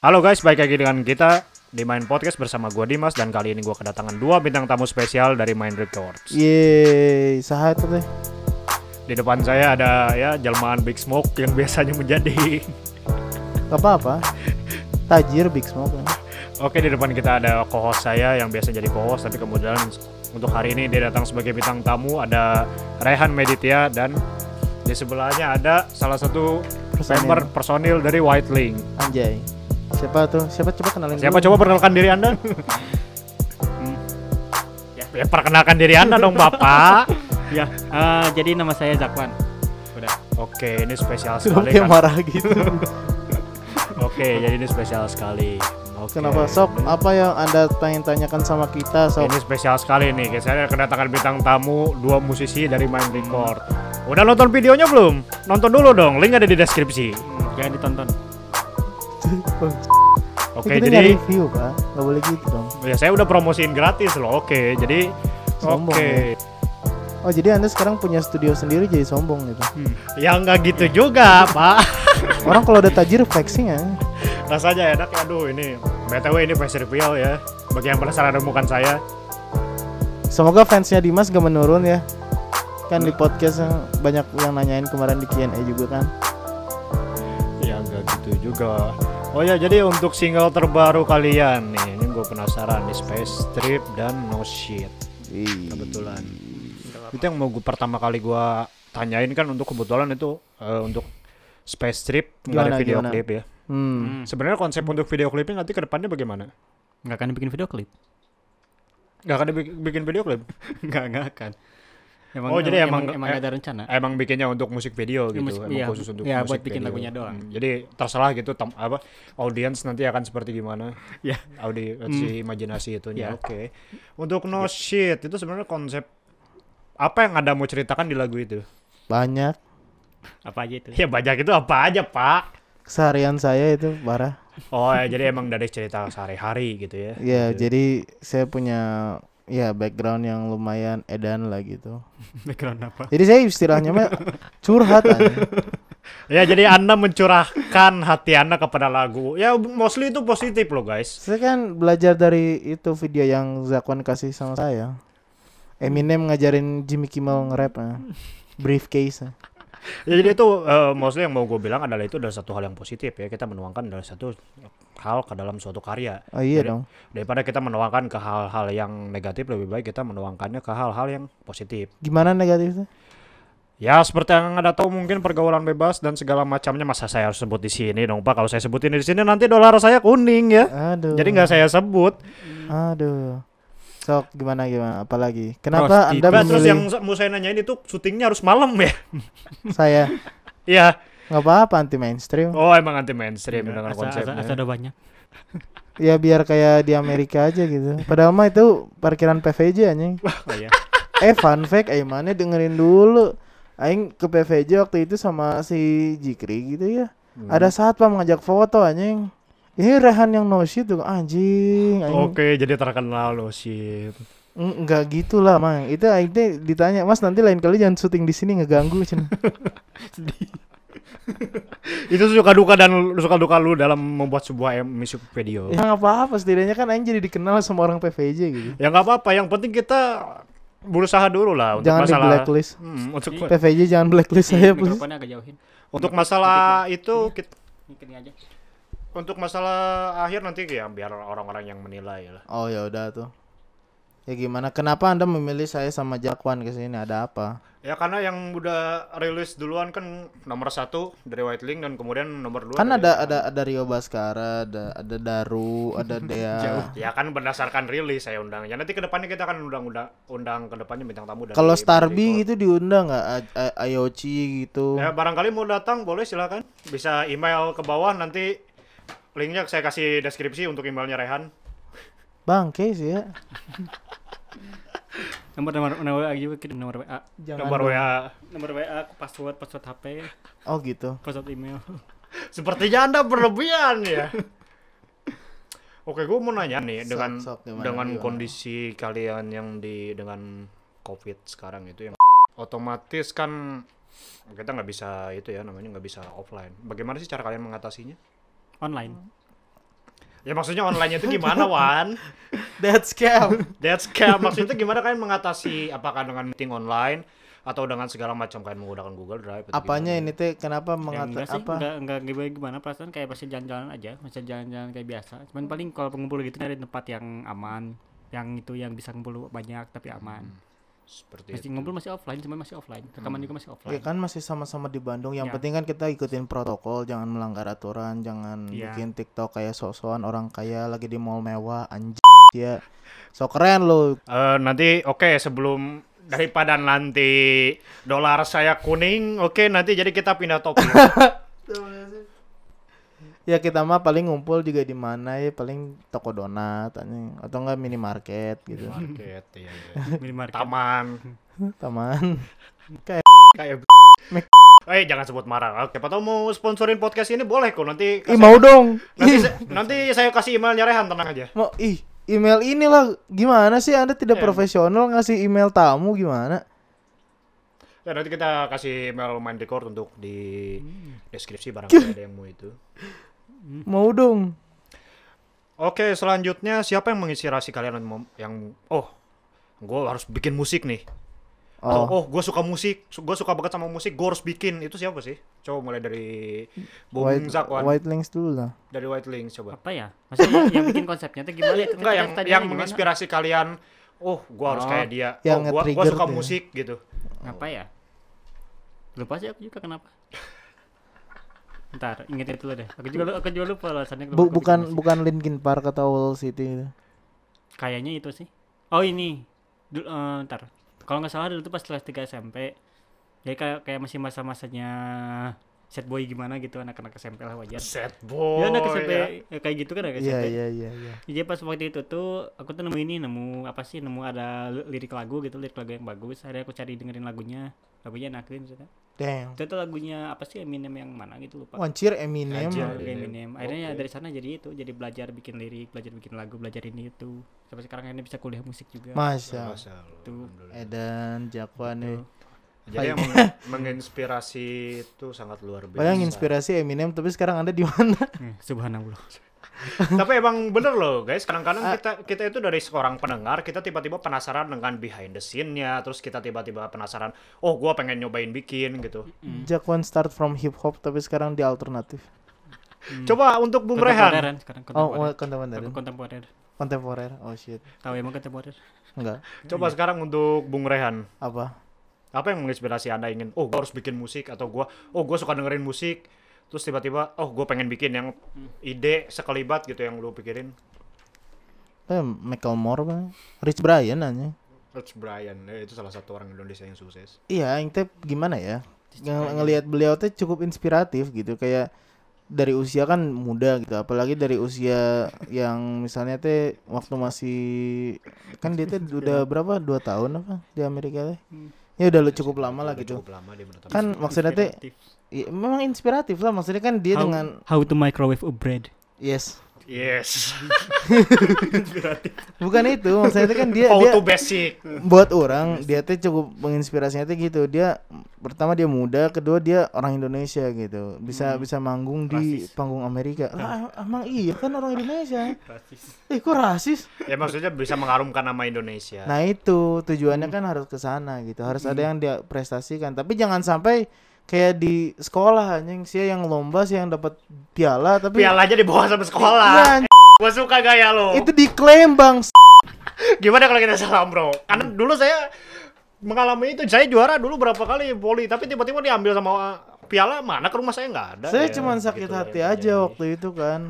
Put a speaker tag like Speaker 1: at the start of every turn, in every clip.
Speaker 1: Halo guys, balik lagi dengan kita di Main Podcast bersama gua Dimas dan kali ini gua kedatangan dua bintang tamu spesial dari Main Records.
Speaker 2: Yeay, sahat deh.
Speaker 1: Di depan saya ada ya jelmaan Big Smoke yang biasanya menjadi
Speaker 2: Gak apa-apa. Tajir Big Smoke. kan.
Speaker 1: Oke, di depan kita ada co-host saya yang biasa jadi co-host tapi kemudian untuk hari ini dia datang sebagai bintang tamu ada Rehan Meditya dan di sebelahnya ada salah satu
Speaker 2: Personil.
Speaker 1: member personil dari White Link.
Speaker 2: Anjay. Siapa tuh? Siapa coba kenalin
Speaker 1: Siapa
Speaker 2: dulu.
Speaker 1: coba perkenalkan diri Anda? Hmm. ya, ya, perkenalkan diri Anda dong, Bapak.
Speaker 3: Ya, eh, jadi nama saya Zakwan. Udah.
Speaker 1: Oke, ini spesial
Speaker 2: Kenapa
Speaker 1: sekali.
Speaker 2: dia
Speaker 1: kan?
Speaker 2: marah gitu?
Speaker 1: Oke, jadi ini spesial sekali. Oke.
Speaker 2: Kenapa? Sob, apa yang Anda pengen tanyakan sama kita, Sob?
Speaker 1: Ini spesial sekali nih, guys. Saya kedatangan bintang tamu dua musisi dari Mind Record. Udah nonton videonya belum? Nonton dulu dong, link ada di deskripsi.
Speaker 3: Hmm, Jangan ditonton.
Speaker 1: Oke,
Speaker 2: Kita nggak
Speaker 1: jadi
Speaker 2: review, Pak. Gak boleh gitu dong.
Speaker 1: ya saya udah promosiin gratis loh. Oke, jadi
Speaker 2: Sombong
Speaker 1: Oke,
Speaker 2: Oh, jadi Anda sekarang punya studio sendiri jadi sombong gitu.
Speaker 1: ya nggak gitu juga, Pak.
Speaker 2: Orang kalau udah tajir flexing ya.
Speaker 1: Rasanya enak, aduh ini. BTW ini face reveal ya. Bagi yang penasaran dengan bukan saya,
Speaker 2: Semoga fansnya Dimas gak menurun ya. Kan di podcast yang banyak yang nanyain kemarin di Q&A juga kan.
Speaker 1: Ya nggak gitu juga. Oh ya, jadi untuk single terbaru kalian nih, ini gue penasaran nih Space Trip dan No Shit
Speaker 2: Ih.
Speaker 1: kebetulan. Itu yang mau gue pertama kali gue tanyain kan untuk kebetulan itu eh, untuk Space Trip nggak ada
Speaker 2: Gimana,
Speaker 1: video
Speaker 2: gimana?
Speaker 1: klip ya.
Speaker 2: Hmm.
Speaker 1: Sebenarnya konsep untuk video klipnya nanti ke depannya bagaimana?
Speaker 3: Nggak akan bikin video klip.
Speaker 1: Gak akan dibi- bikin video klip?
Speaker 3: Nggak, nggak akan. Emang,
Speaker 1: Oh, jadi emang-
Speaker 3: emang,
Speaker 1: eh,
Speaker 3: ada rencana.
Speaker 1: Emang bikinnya untuk musik video
Speaker 3: Ya,
Speaker 1: gitu,
Speaker 3: musik-
Speaker 1: emang
Speaker 3: iya,
Speaker 1: khusus untuk
Speaker 3: iya,
Speaker 1: musik
Speaker 3: buat bikin
Speaker 1: video.
Speaker 3: lagunya doang.
Speaker 1: Hmm, Jadi terserah gitu tem- apa audiens nanti akan seperti gimana.
Speaker 3: Ya.
Speaker 1: Audi si imajinasi itunya.
Speaker 3: Ya.
Speaker 1: Oke. Untuk No Shit itu sebenarnya konsep apa yang Anda mau ceritakan di lagu itu?
Speaker 2: Banyak
Speaker 3: Apa aja itu?
Speaker 1: Ya banyak itu apa aja, Pak?
Speaker 2: keseharian saya itu parah.
Speaker 1: Oh, ya, jadi emang dari cerita sehari-hari gitu ya.
Speaker 2: Ya,
Speaker 1: Gitu.
Speaker 2: jadi saya punya ya background yang lumayan edan lah gitu.
Speaker 3: Background apa?
Speaker 2: Jadi saya istilahnya mah curhat aja.
Speaker 1: Ya, jadi Anda mencurahkan hati Anda kepada lagu. Ya mostly itu positif loh, guys.
Speaker 2: Saya kan belajar dari itu video yang Zakwan kasih sama saya. Eminem ngajarin Jimmy Kimmel nge-rap ya. Briefcase. ya.
Speaker 1: Ya jadi itu eh, mostly yang mau gue bilang adalah itu adalah satu hal yang positif ya kita menuangkan dalam satu hal ke dalam suatu karya
Speaker 2: Oh iya
Speaker 1: Jadi-
Speaker 2: dong.
Speaker 1: daripada kita menuangkan ke hal-hal yang negatif lebih baik kita menuangkannya ke hal-hal yang positif
Speaker 2: Gimana negatifnya?
Speaker 1: ya seperti yang anda tahu mungkin pergaulan bebas dan segala macamnya masa saya harus sebut di sini dong pak kalau saya sebutin di sini nanti dolar saya kuning ya
Speaker 2: Aduh.
Speaker 1: jadi nggak saya sebut
Speaker 2: Aduh. Sok gimana gimana apalagi? Kenapa Anda
Speaker 1: Nah, terus
Speaker 2: memilih
Speaker 1: yang mau saya nanyain itu syutingnya harus malam ya
Speaker 2: saya?
Speaker 1: Iya
Speaker 2: Nggak apa-apa anti mainstream.
Speaker 1: oh emang anti mainstream
Speaker 2: Iya.
Speaker 1: dengan
Speaker 3: Asa, asa,
Speaker 1: konsepnya
Speaker 3: asa ada banyak.
Speaker 2: Ya biar kayak di Amerika aja gitu. Padahal mah itu parkiran PVJ anjing.
Speaker 3: Oh iya.
Speaker 2: Eh fun fact Aing mana dengerin dulu Aing ke PVJ waktu itu sama si Jikri gitu ya
Speaker 1: Hmm.
Speaker 2: Ada saat pak mengajak foto anjing Ini Rehan yang no shit tuh anjing Aing
Speaker 1: Oke, jadi terkenal loh sih.
Speaker 2: "Eng- Enggak gitu lah mang Itu Aing teh ditanya Mas nanti lain kali jangan syuting di sini ngeganggu cen."
Speaker 1: itu suka duka dan suka duka lu dalam membuat sebuah em- music video
Speaker 2: Ya nggak apa-apa setidaknya kan Aing jadi dikenal sama orang PVJ gitu
Speaker 1: ya nggak apa-apa yang penting kita berusaha dulu lah untuk
Speaker 2: Jangan di
Speaker 1: masalah
Speaker 2: blacklist
Speaker 1: Hmm, untuk
Speaker 2: PVJ jangan blacklist saya please
Speaker 3: Mikrofonnya agak jauhin.
Speaker 1: untuk masalah itu kit-
Speaker 3: Mungkin aja.
Speaker 1: untuk masalah akhir nanti ya biar orang-orang yang menilai lah
Speaker 2: Oh ya udah tuh Ya gimana kenapa anda memilih saya sama Jakwan ke sini ada apa?
Speaker 1: ya karena yang udah rilis duluan kan nomor satu dari White Link dan kemudian nomor dua
Speaker 2: kan
Speaker 1: dari-
Speaker 2: ada ada ada Rio Baskara, ada ada Daru, ada Dea.
Speaker 1: ya kan berdasarkan rilis saya undangnya nanti kedepannya kita akan undang undang undang kedepannya bintang tamu dari
Speaker 2: Kalau
Speaker 1: Bintang
Speaker 2: Starby gitu diundang nggak A- A- Ayochi gitu.
Speaker 1: Ya barangkali mau datang boleh silakan. Bisa email ke bawah nanti linknya saya kasih deskripsi untuk emailnya Rehan.
Speaker 2: Bangke sih ya.
Speaker 3: Nomor nomor nomor WA juga kirim nomor WA.
Speaker 2: Jangan
Speaker 1: Nomor
Speaker 2: dong.
Speaker 1: WA.
Speaker 3: Nomor WA, password, password HP,
Speaker 2: Oh gitu.
Speaker 3: password email.
Speaker 1: Sepertinya anda berlebihan ya. Oke, gue mau nanya nih
Speaker 2: Sok,
Speaker 1: dengan
Speaker 2: sok, gimana,
Speaker 1: dengan
Speaker 2: gimana?
Speaker 1: kondisi kalian yang di dengan COVID sekarang itu yang otomatis kan kita nggak bisa itu ya namanya nggak bisa offline. Bagaimana sih cara kalian mengatasinya?
Speaker 3: Online.
Speaker 1: Ya maksudnya online itu gimana, Wan?
Speaker 2: That's scam.
Speaker 1: That's scam. Maksudnya gimana kalian mengatasi apakah dengan meeting online atau dengan segala macam kalian menggunakan Google Drive? atau
Speaker 2: Apanya
Speaker 1: gimana?
Speaker 2: ini teh kenapa
Speaker 3: Ya,
Speaker 2: mengata
Speaker 3: enggak sih,
Speaker 2: apa?
Speaker 3: enggak, enggak gimana, gimana perasaan kayak masih jalan-jalan aja, masih jalan-jalan kayak biasa. Cuman paling kalau pengumpul gitu nyari tempat yang aman, yang itu yang bisa ngumpul banyak tapi aman.
Speaker 1: Seperti
Speaker 3: Masih
Speaker 1: itu.
Speaker 3: ngumpul masih offline, cuman masih offline. Rekaman juga masih
Speaker 2: Ya
Speaker 3: offline.
Speaker 2: Gitu. kan masih sama-sama di Bandung. Yang
Speaker 3: Ya.
Speaker 2: penting kan kita ikutin protokol, jangan melanggar aturan, jangan
Speaker 3: Iya.
Speaker 2: bikin TikTok kayak sosokan orang kaya lagi di mall mewah anjing ya. So keren lo.
Speaker 1: Eh, nanti oke sebelum daripada nanti dolar saya kuning, oke nanti jadi kita pindah topik.
Speaker 2: Ya kita mah paling ngumpul juga di mana ya paling toko donat anjing atau enggak minimarket gitu.
Speaker 1: Market, iya, iya.
Speaker 3: Minimarket.
Speaker 1: Taman.
Speaker 2: Taman.
Speaker 1: Kayak
Speaker 2: Mac-
Speaker 1: Eh jangan sebut marah. Oke, siapa tahu mau sponsorin podcast ini boleh kok nanti.
Speaker 2: Ih mau dong.
Speaker 1: Nanti,
Speaker 2: Ih,
Speaker 1: sa- nanti saya kasih emailnya Rehan tenang aja.
Speaker 2: mau ih email inilah gimana sih Anda tidak
Speaker 1: Iya.
Speaker 2: profesional ngasih email tamu gimana?
Speaker 1: Ya, nanti kita kasih email main record untuk di deskripsi barangkali ada yang mau itu.
Speaker 2: Mau dong.
Speaker 1: Oke, selanjutnya siapa yang menginspirasi kalian yang mem- yang oh, gue harus bikin musik nih. Atau,
Speaker 2: Oh,
Speaker 1: oh, gue suka musik, gue suka banget sama musik, gue harus bikin. Itu siapa sih? Coba mulai dari Bung
Speaker 2: White,
Speaker 1: Zakwan,
Speaker 2: White Links dulu lah.
Speaker 1: dari White Link coba.
Speaker 3: Apa ya? Maksudnya yang bikin konsepnya tuh gimana? Itu
Speaker 1: Enggak yang
Speaker 3: tadi
Speaker 1: yang
Speaker 3: gimana?
Speaker 1: menginspirasi kalian. Oh, gue harus
Speaker 3: Oh,
Speaker 1: kayak dia.
Speaker 2: yang
Speaker 1: oh, gue
Speaker 2: nge-trigger
Speaker 1: suka
Speaker 2: tuh ya.
Speaker 1: musik gitu.
Speaker 3: Apa ya? Lupa sih aku juga kenapa. Ntar, ingetin dulu deh. Aku juga lu- aku juga lupa alasannya. kenapa
Speaker 2: Bu-
Speaker 3: aku bikin
Speaker 2: bukan
Speaker 3: musik.
Speaker 2: bukan Linkin Park atau Wall City gitu.
Speaker 3: Kayaknya itu sih. Oh ini, dulu, eh, ntar. Kalau nggak salah dulu tuh pas kelas 3 SMP, jadi kayak kayak masih masa-masanya set boy gimana gitu anak-anak SMP lah wajar.
Speaker 1: Sad boy.
Speaker 3: ya anak SMP
Speaker 1: ya.
Speaker 3: ya, kayak gitu kan anak SMP.
Speaker 2: Oh, Iya iya iya iya.
Speaker 3: Jadi pas waktu itu tuh aku tuh nemu ini nemu apa sih nemu ada li- lirik lagu gitu lirik lagu yang bagus. Akhirnya aku cari dengerin lagunya, lagunya enakin gitu.
Speaker 2: Damn.
Speaker 3: Itu tuh lagunya apa sih Eminem yang mana gitu lupa.
Speaker 2: Wancir Oh, Eminem.
Speaker 1: Anjir.
Speaker 3: Lagu Eminem. Akhirnya
Speaker 1: Oke.
Speaker 3: dari sana jadi itu jadi belajar bikin lirik, belajar bikin lagu, belajar ini itu. Sampai sekarang ini bisa kuliah musik juga.
Speaker 2: Masya.
Speaker 1: Masa lu,
Speaker 3: Tuh.
Speaker 1: alhamdulillah.
Speaker 2: Edan eh. Jakwan nih.
Speaker 1: Jadi yang meng- menginspirasi itu sangat luar biasa.
Speaker 2: Padahal yang inspirasi Eminem tapi sekarang Anda di mana?
Speaker 3: Eh, Subhanallah.
Speaker 1: Tapi emang bener loh guys, kadang-kadang kita kita itu dari seorang pendengar, kita tiba-tiba penasaran dengan behind the scene-nya, terus kita tiba-tiba penasaran, oh gua pengen nyobain bikin gitu.
Speaker 3: Hmm.
Speaker 2: Jakwan start from hip hop tapi sekarang di alternatif.
Speaker 1: Coba untuk Bung Rehan.
Speaker 3: Kontemporer sekarang
Speaker 2: Oh,
Speaker 3: kontemporer.
Speaker 2: kontemporer.
Speaker 3: Aku kontemporer.
Speaker 2: Kontemporer. Oh shit.
Speaker 3: Tahu emang kontemporer.
Speaker 2: Enggak.
Speaker 1: Coba sekarang untuk Bung Rehan.
Speaker 2: Apa?
Speaker 1: Apa yang menginspirasi Anda ingin, oh gua harus bikin musik atau gua oh gua suka dengerin musik, terus tiba-tiba oh gua pengen bikin yang ide sekelibat gitu yang lu pikirin.
Speaker 2: Eh, Michael Moore apa? Rich Brian aja.
Speaker 1: Rich Brian, eh, itu salah satu orang Indonesia yang sukses.
Speaker 2: Iya, yang teh gimana ya? Nge- ngelihat beliau teh cukup inspiratif gitu kayak dari usia kan muda gitu, apalagi dari usia yang misalnya teh waktu masih kan dia teh
Speaker 3: Iya.
Speaker 2: udah berapa? Dua tahun apa di Amerika teh?
Speaker 3: Hmm.
Speaker 2: Ya udah lu cukup lama lah
Speaker 1: Udah
Speaker 2: gitu.
Speaker 1: Cukup lama dia menetap.
Speaker 2: Kan maksudnya teh
Speaker 3: Inspiratif.
Speaker 2: i- memang inspiratif lah maksudnya kan dia
Speaker 3: How,
Speaker 2: dengan
Speaker 3: how to microwave a bread.
Speaker 2: yes.
Speaker 1: Yes.
Speaker 2: Bukan itu, maksudnya teh kan dia
Speaker 1: How
Speaker 2: dia
Speaker 1: to Oh, basic.
Speaker 2: buat orang dia teh cukup menginspirasinya teh gitu dia pertama dia muda kedua dia orang Indonesia gitu bisa bisa manggung di
Speaker 3: Hmm. Rasis.
Speaker 2: panggung Amerika lah emang iya kan orang Indonesia
Speaker 3: Rasis.
Speaker 2: eh kok rasis
Speaker 1: Ya maksudnya bisa mengharumkan nama Indonesia.
Speaker 2: nah itu tujuannya kan harus ke sana gitu harus ada yang
Speaker 3: Hmm.
Speaker 2: dia prestasikan tapi jangan sampai kayak di sekolah anjing sih yang lomba sih yang dapat piala tapi
Speaker 1: Pialanya dibawa sama
Speaker 2: Iya,
Speaker 1: sekolah.
Speaker 2: anjing.
Speaker 1: Gua suka gaya lo.
Speaker 2: itu diklaim bang
Speaker 1: Gimana kalau kita salam, Bro? Karena dulu saya mengalami itu. Saya juara dulu berapa kali voli, tapi tiba-tiba diambil sama uh, piala mana ke rumah saya nggak ada.
Speaker 2: saya
Speaker 1: Ya,
Speaker 2: cuman sakit
Speaker 1: gitu lah
Speaker 2: hati
Speaker 1: yang
Speaker 2: aja
Speaker 1: terjadi.
Speaker 2: waktu itu kan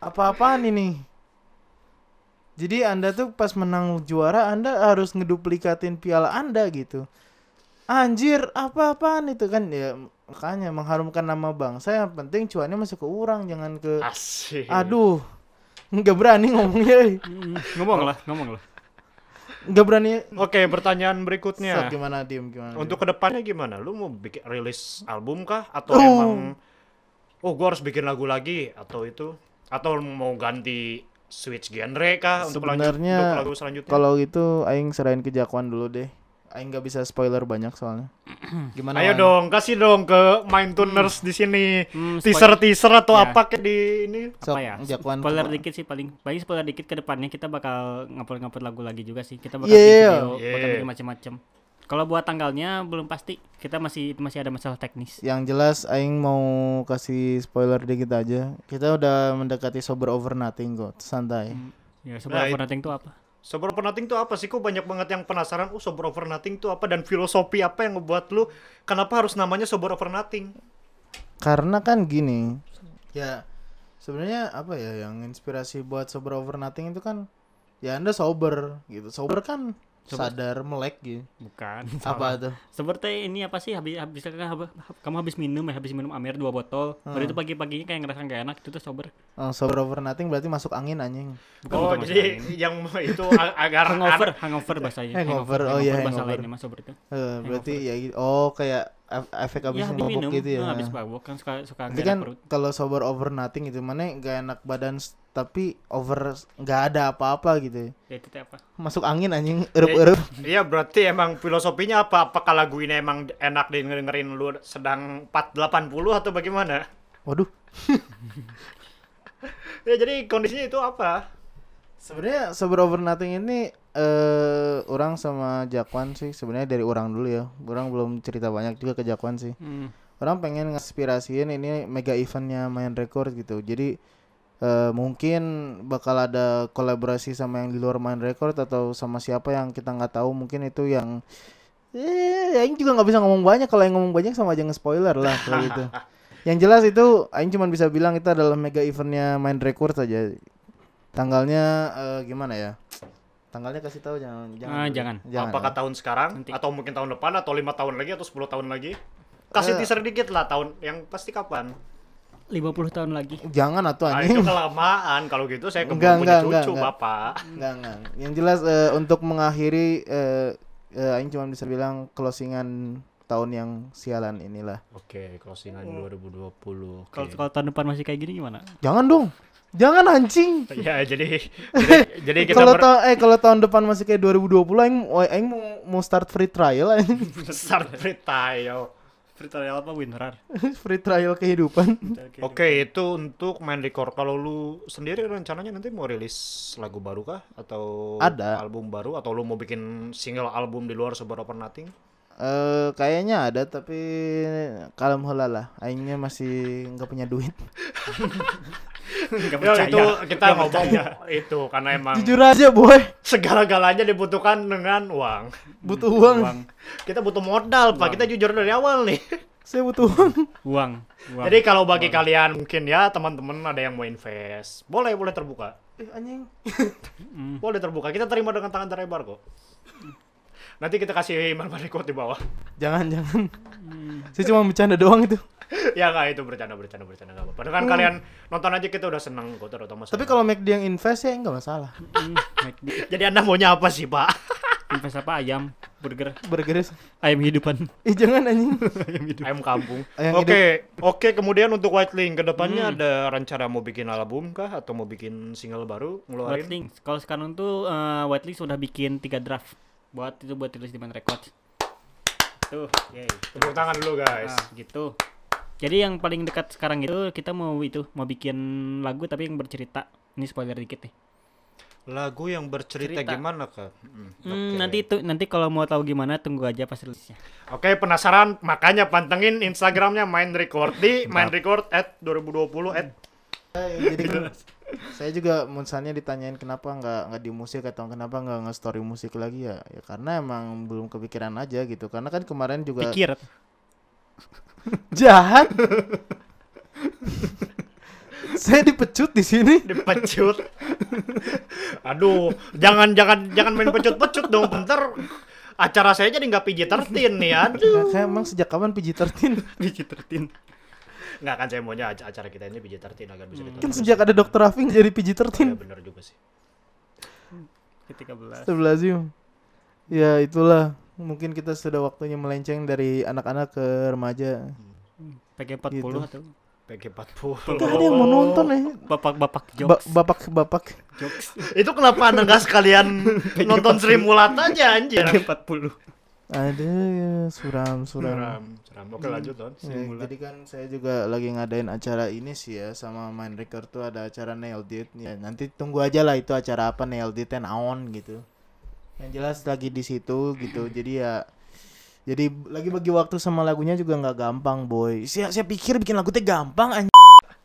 Speaker 2: apa-apaan ini jadi anda tuh pas menang juara anda harus ngeduplikasiin piala anda gitu anjir apa-apaan itu kan ya makanya mengharumkan nama bangsa yang penting cuannya masuk ke orang jangan ke
Speaker 1: Ah, Asik.
Speaker 2: aduh nggak berani ngomongnya eh.
Speaker 3: Hmm, Ngomong lah, ngomong lah.
Speaker 2: nggak berani
Speaker 1: Oke, pertanyaan
Speaker 2: Sok,
Speaker 1: berikutnya.
Speaker 2: gimana diem gimana
Speaker 1: Iya. Untuk kedepannya gimana? Lu mau bikin rilis album kah? Atau
Speaker 2: Oh.
Speaker 1: emang oh gua harus bikin lagu lagi atau itu? Atau lu mau ganti switch genre kah untuk lanjut
Speaker 2: Sebenarnya,
Speaker 1: untuk lagu selanjutnya?
Speaker 2: Kalau gitu aing serahin ke Jakwan dulu deh. Aing nggak bisa spoiler banyak soalnya.
Speaker 1: Nah,
Speaker 2: Gimana?
Speaker 1: Ayo
Speaker 2: Wan?
Speaker 1: dong, kasih dong ke Mind Tuners di sini
Speaker 3: Hmm, spoil-
Speaker 1: teaser-teaser atau
Speaker 3: Ya.
Speaker 1: apa kayak di ini.
Speaker 2: Sok,
Speaker 3: apa ya
Speaker 2: ajak Wan ke-
Speaker 3: spoiler dikit sih paling paling spoiler dikit ke depannya kita bakal ngupload-ngupload lagu lagi juga sih kita bakal
Speaker 2: Iya,
Speaker 3: bikin
Speaker 2: iya.
Speaker 3: video bakal
Speaker 1: Iya.
Speaker 3: bikin macam-macam kalau buat tanggalnya belum pasti kita masih masih ada masalah teknis
Speaker 2: Yang jelas Aing mau kasih spoiler dikit aja. Kita udah mendekati sober over nothing kok, santai.
Speaker 3: ya sebelum
Speaker 1: Nah,
Speaker 3: aku
Speaker 1: it-
Speaker 3: nothing itu apa
Speaker 1: Sober over nothing tuh apa sih? Kok banyak banget yang penasaran, oh sober over nothing tuh apa? Dan filosofi apa yang ngebuat lu, kenapa harus namanya sober over nothing?
Speaker 2: Karena kan gini, ya sebenarnya apa ya yang inspirasi buat sober over nothing itu kan ya Anda sober gitu. Sober kan
Speaker 3: Sober.
Speaker 2: sadar melek gitu.
Speaker 3: bukan
Speaker 2: Apa tuh?
Speaker 3: seperti ini apa sih habis habis kan hab- kamu habis minum ya habis minum amer dua botol
Speaker 2: Hmm.
Speaker 3: baru itu pagi-paginya kayak ngerasa nggak enak itu tuh sober
Speaker 2: Oh, sober over nothing berarti masuk angin anjing.
Speaker 1: oh, jadi yang itu ag- agar
Speaker 3: hangover hangover bahasanya
Speaker 2: Hangover, oh iya,
Speaker 3: bahasa
Speaker 2: hangover.
Speaker 3: lainnya mah sober itu
Speaker 2: Eh, berarti ya gitu. Oh, kayak ef- efek
Speaker 3: ya
Speaker 2: abis
Speaker 3: habis minum
Speaker 2: mabuk gitu ya.
Speaker 3: eh, habis mabuk kan suka suka
Speaker 2: Berarti
Speaker 3: nggak
Speaker 2: kan
Speaker 3: enak perut
Speaker 2: kalau sober over nothing itu mana gak enak badan s- tapi over s- nggak ada apa-apa gitu. ya.
Speaker 3: ya itu teh apa
Speaker 2: Masuk angin anjing
Speaker 3: Ya,
Speaker 2: erup-erup.
Speaker 1: Iya berarti emang filosofinya apa? Apakah lagu ini emang enak dengerin lu sedang 480 atau bagaimana?
Speaker 2: Waduh.
Speaker 1: Ya jadi kondisinya itu apa?
Speaker 2: Sebenarnya sober over nothing ini eh orang sama Jakwan sih sebenarnya dari orang dulu ya. Orang belum cerita banyak juga ke Jakwan sih.
Speaker 3: Hmm.
Speaker 2: orang pengen ngaspirasiin ini mega eventnya main record gitu jadi eh, mungkin bakal ada kolaborasi sama yang di luar main record atau sama siapa yang kita nggak tahu mungkin itu yang eh Aing juga nggak bisa ngomong banyak kalau yang ngomong banyak sama aja nge-spoiler lah kalau gitu yang jelas itu Aing cuma bisa bilang itu adalah mega eventnya main record saja tanggalnya eh, gimana ya tanggalnya kasih tahu jangan jangan
Speaker 3: Ah,
Speaker 2: dulu.
Speaker 3: jangan.
Speaker 1: Apakah
Speaker 2: ya.
Speaker 1: tahun sekarang
Speaker 3: Nanti.
Speaker 1: atau mungkin tahun depan atau lima tahun lagi atau 10 tahun lagi? Kasih
Speaker 2: Eh.
Speaker 1: teaser dikit lah tahun yang pasti kapan.
Speaker 3: 50 tahun lagi
Speaker 2: jangan atau
Speaker 1: Ah,
Speaker 2: anjing
Speaker 1: itu kelamaan kalau gitu saya keburu
Speaker 2: Enggak,
Speaker 1: punya
Speaker 2: enggak,
Speaker 1: cucu
Speaker 2: enggak, enggak.
Speaker 1: bapak.
Speaker 2: Enggak, enggak. Yang jelas eh, untuk mengakhiri eh eh, aing cuma bisa bilang closingan tahun yang sialan inilah.
Speaker 1: Oke, closingan 2020.
Speaker 3: kalau kalau tahun depan masih kayak gini gimana
Speaker 2: Jangan dong. Jangan anjing.
Speaker 1: Ya jadi jadi, jadi kita
Speaker 2: Kalau
Speaker 1: ber-
Speaker 2: ta- eh kalau tahun depan masih kayak 2020 aing aing mau, mau start free trial anjing.
Speaker 1: start free trial.
Speaker 3: free trial apa winrar
Speaker 2: free trial kehidupan.
Speaker 1: Oke, gitu. itu untuk main record. Kalau lu sendiri rencananya nanti mau rilis lagu baru kah atau
Speaker 2: Ada.
Speaker 1: album baru atau lu mau bikin single album di luar Sober Open Nothing?
Speaker 2: Eh kayaknya ada tapi kalem heula lah. Aingnya masih nggak punya duit.
Speaker 1: Ya,
Speaker 3: nggak percaya
Speaker 1: itu kita ngomong itu karena emang
Speaker 2: Jujur aja, boy.
Speaker 1: segala-galanya dibutuhkan dengan uang.
Speaker 2: Butuh uang.
Speaker 1: Kita butuh modal, Pak. Kita jujur dari awal nih.
Speaker 2: Saya butuh uang.
Speaker 3: uang uang
Speaker 1: Jadi kalau bagi kalian mungkin ya teman-teman ada yang mau invest, boleh boleh terbuka.
Speaker 2: Eh, anjing. Hmm.
Speaker 1: Boleh terbuka. Kita terima dengan tangan terlebar kok. Nanti kita kasih manual record di bawah.
Speaker 2: Jangan, jangan.
Speaker 1: Hmm.
Speaker 2: Saya cuma bercanda doang itu.
Speaker 1: ya nggak itu bercanda bercanda bercanda nggak apa-apa. Dengan kalian nonton aja kita udah seneng kok terutama.
Speaker 2: Hmm. Tapi
Speaker 1: saya.
Speaker 2: kalau make dia yang invest ya nggak masalah.
Speaker 3: Hmm, McD.
Speaker 1: jadi anda maunya apa sih pak?
Speaker 3: invest apa ayam burger
Speaker 2: Bergeris.
Speaker 3: ayam hidupan
Speaker 2: Ih jangan anjing.
Speaker 3: ayam hidup
Speaker 1: Ayam kampung.
Speaker 2: Gitu. Ayam Hmm.
Speaker 1: Oke oke kemudian untuk White Link kedepannya ada rencana mau bikin album kah atau mau bikin single baru ngeluarin?
Speaker 3: White Link. Kalau sekarang tuh eh, White Link sudah bikin tiga draft buat itu buat rilis di Man Records. Tuh, yay.
Speaker 1: Tepuk tangan dulu guys.
Speaker 3: Nah, gitu. Jadi yang paling dekat sekarang itu kita mau itu mau bikin lagu tapi yang bercerita. Ini spoiler dikit nih.
Speaker 1: Nah, Lagu yang bercerita
Speaker 3: Cerita.
Speaker 1: gimana kak? Hmm,
Speaker 3: Hmm,
Speaker 1: oke.
Speaker 3: nanti itu nanti kalau mau tahu gimana tunggu aja pas rilisnya.
Speaker 1: Oke penasaran makanya pantengin Instagramnya main record di main record at 2020 at
Speaker 2: Jadi saya juga misalnya ditanyain kenapa nggak nggak di musik atau kenapa nggak nge story musik lagi ya ya karena emang belum kepikiran aja gitu karena kan kemarin juga
Speaker 3: Pikir.
Speaker 2: jahat saya dipecut di sini
Speaker 1: dipecut. Aduh, jangan jangan jangan main pecut-pecut dong, bentar acara saya jadi nggak PG-13 nih, aduh.
Speaker 2: Nah, kayak emang sejak kapan PG-13
Speaker 3: Pikir tertin.
Speaker 1: Nggak kan saya maunya ac- acara kita ini PG-13 agar bisa
Speaker 3: Hmm.
Speaker 1: ditonton.
Speaker 2: kan sejak ada dokter Rafi nggak jadi
Speaker 1: Ya,
Speaker 2: PG-13
Speaker 1: bener juga sih.
Speaker 3: Ketika belas.
Speaker 2: Astagfirullahaladzim ya itulah mungkin kita sudah waktunya melenceng dari anak-anak ke remaja
Speaker 3: PG 40
Speaker 2: Gitu.
Speaker 3: atau
Speaker 1: PG-40.
Speaker 2: Gak ada yang mau nonton ya
Speaker 3: bapak-bapak
Speaker 2: Ba-
Speaker 3: jokes.
Speaker 2: bapak-bapak
Speaker 3: jokes.
Speaker 1: Itu kenapa Anda nggak sekalian nonton Sri Mulat aja anjir?
Speaker 3: PG 40.
Speaker 2: Aduh, suram, suram.
Speaker 1: Suram, suram. Oke lanjut Don.
Speaker 2: Ya, jadi kan saya juga lagi ngadain acara ini sih ya sama Mindreaker tuh ada acara nail date ya, nanti tunggu aja lah itu acara apa nail date and on gitu yang jelas lagi di situ gitu jadi ya jadi lagi bagi waktu sama lagunya juga nggak gampang boy saya saya pikir bikin lagu teh gampang anj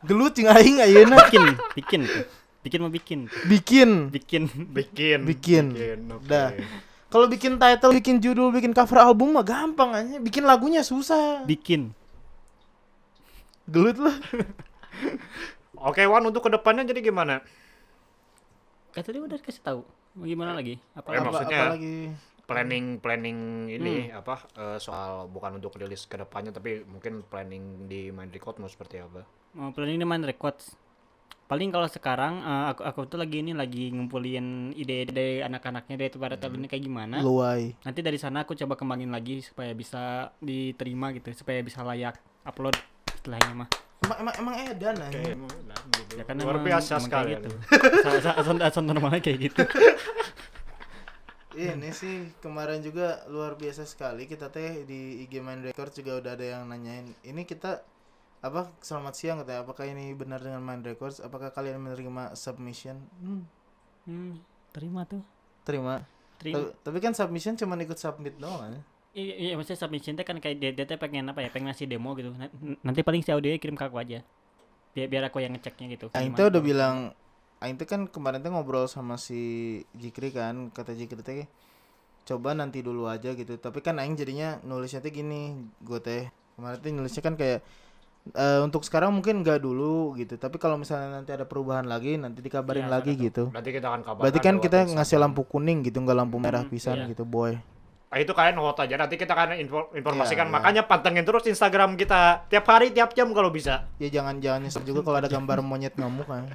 Speaker 2: gelut iya, jeung aing ayeuna
Speaker 3: bikin bikin tuh. bikin mau bikin
Speaker 2: nah. bikin
Speaker 3: bikin
Speaker 1: Bikin.
Speaker 2: Bikin.
Speaker 1: oke.
Speaker 2: Dah. kalau bikin title bikin judul bikin cover album mah gampang aja bikin lagunya susah
Speaker 3: bikin
Speaker 2: gelut lah
Speaker 1: Oke Wan untuk kedepannya jadi gimana?
Speaker 3: kan tadi udah kasih tahu Mau gimana lagi apa
Speaker 1: Eh,
Speaker 2: Apa-
Speaker 1: maksudnya-
Speaker 2: apalagi
Speaker 1: Planning planning ini
Speaker 2: Hmm.
Speaker 1: apa eh, soal bukan untuk rilis kedepannya tapi mungkin planning di Mind Record mau seperti apa?
Speaker 3: mau planning dengan records paling kalau sekarang eh, aku aku tuh lagi ini lagi ngumpulin ide-ide dari anak-anaknya dari para talent kayak gimana
Speaker 2: luai
Speaker 3: nanti dari sana aku coba kembangin lagi supaya bisa diterima gitu supaya bisa layak upload istilahnya mah
Speaker 2: emang emang, emang edan aja
Speaker 1: Emang enak gitu.
Speaker 3: ya kan
Speaker 1: Luar
Speaker 3: emang-
Speaker 1: biasa
Speaker 3: emang kayak
Speaker 1: sekali.
Speaker 3: gitu.
Speaker 1: Anda.
Speaker 3: Asa- asa- asan asan normalnya kayak gitu
Speaker 2: Iya, Ini sih kemarin juga luar biasa sekali kita teh di IG Main Record juga udah ada yang nanyain ini kita apa selamat siang katanya apakah ini benar dengan Main Records apakah kalian menerima submission hmm,
Speaker 3: hmm, terima tuh
Speaker 2: terima
Speaker 3: terima
Speaker 2: Ta- tapi kan submission cuma ikut submit doang kan?
Speaker 3: iya iya, maksudnya submission teh kan kayak dia, dia teh pengen apa ya pengen ngasih demo gitu Na- nanti paling si audio kirim ke aku aja biar biar aku yang ngeceknya gitu
Speaker 2: Aing
Speaker 3: Gimana?
Speaker 2: teh udah bilang Aing teh kan kemarin teh ngobrol sama si Jikri kan kata Jikri teh coba nanti dulu aja gitu tapi kan Aing jadinya nulisnya teh gini gue teh kemarin teh nulisnya kan kayak "Eh, untuk sekarang mungkin nggak dulu gitu tapi kalau misalnya nanti ada perubahan lagi nanti dikabarin
Speaker 3: Iya,
Speaker 2: lagi
Speaker 3: ada tuh.
Speaker 2: gitu
Speaker 1: Berarti kita akan kabarkan.
Speaker 2: berarti kan
Speaker 1: lewat
Speaker 2: kita
Speaker 1: Instagram.
Speaker 2: ngasih lampu kuning gitu nggak lampu merah
Speaker 3: Hmm,
Speaker 2: pisan
Speaker 3: iya.
Speaker 2: gitu boy
Speaker 1: Ah, itu kalian hot aja nanti kita akan info- informasikan
Speaker 2: Iya, iya.
Speaker 1: makanya pantengin terus Instagram kita tiap hari tiap jam kalau bisa.
Speaker 2: ya jangan jangan nyesel juga kalau ada gambar monyet ngamuk kan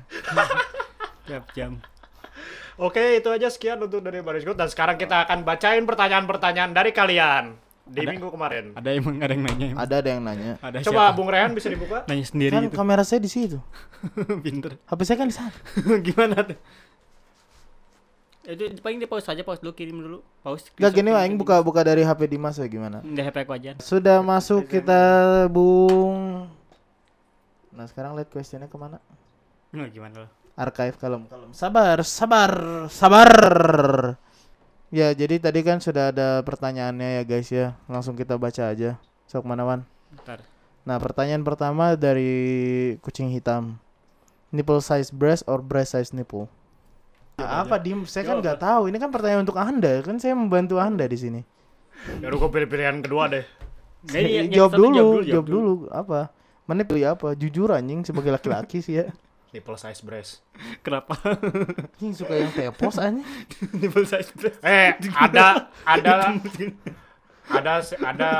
Speaker 3: tiap jam
Speaker 1: Oke itu aja sekian untuk dari Baris Good dan sekarang kita akan bacain pertanyaan-pertanyaan dari kalian di minggu kemarin.
Speaker 3: ada emang ada yang nanya emang?
Speaker 2: ada ada yang nanya
Speaker 3: ada
Speaker 1: Coba
Speaker 3: siapa?
Speaker 1: Bung Rehan bisa dibuka?
Speaker 3: nanya sendiri
Speaker 2: kan
Speaker 3: gitu
Speaker 2: kamera saya di situ
Speaker 3: pinter
Speaker 2: HP saya kan di sana
Speaker 3: gimana tuh itu paling dia pause aja pause dulu kirim dulu pause
Speaker 2: Gak gini
Speaker 3: screenshot,
Speaker 2: Aing
Speaker 3: kirim ke
Speaker 2: buka buka dari HP Dimas ya gimana?
Speaker 3: Di HP aku aja.
Speaker 2: Sudah masuk kita Bung. Nah sekarang lihat questionnya kemana?
Speaker 3: Nah, gimana lo?
Speaker 2: Archive kalem kalem. Sabar sabar sabar. Ya jadi tadi kan sudah ada pertanyaannya ya guys ya. Langsung kita baca aja. Sok manawan.
Speaker 3: Bentar.
Speaker 2: Nah pertanyaan pertama dari kucing hitam. Nipple size breast or breast size nipple? Nah, apa dim? Saya kan nggak tahu. Ini kan pertanyaan untuk anda. Kan saya membantu anda di sini.
Speaker 1: Baru gue pilih pilihan kedua deh.
Speaker 3: Jadi yang- yang
Speaker 2: jawab,
Speaker 3: satu
Speaker 2: dulu, jawab dulu, apa? Mana pilih apa? Jujur anjing sebagai laki-laki sih ya.
Speaker 1: Nipple size breast.
Speaker 3: Kenapa?
Speaker 2: Anjing suka yang tepos anjing.
Speaker 3: Nipple size breast.
Speaker 1: Eh ada ada ada ada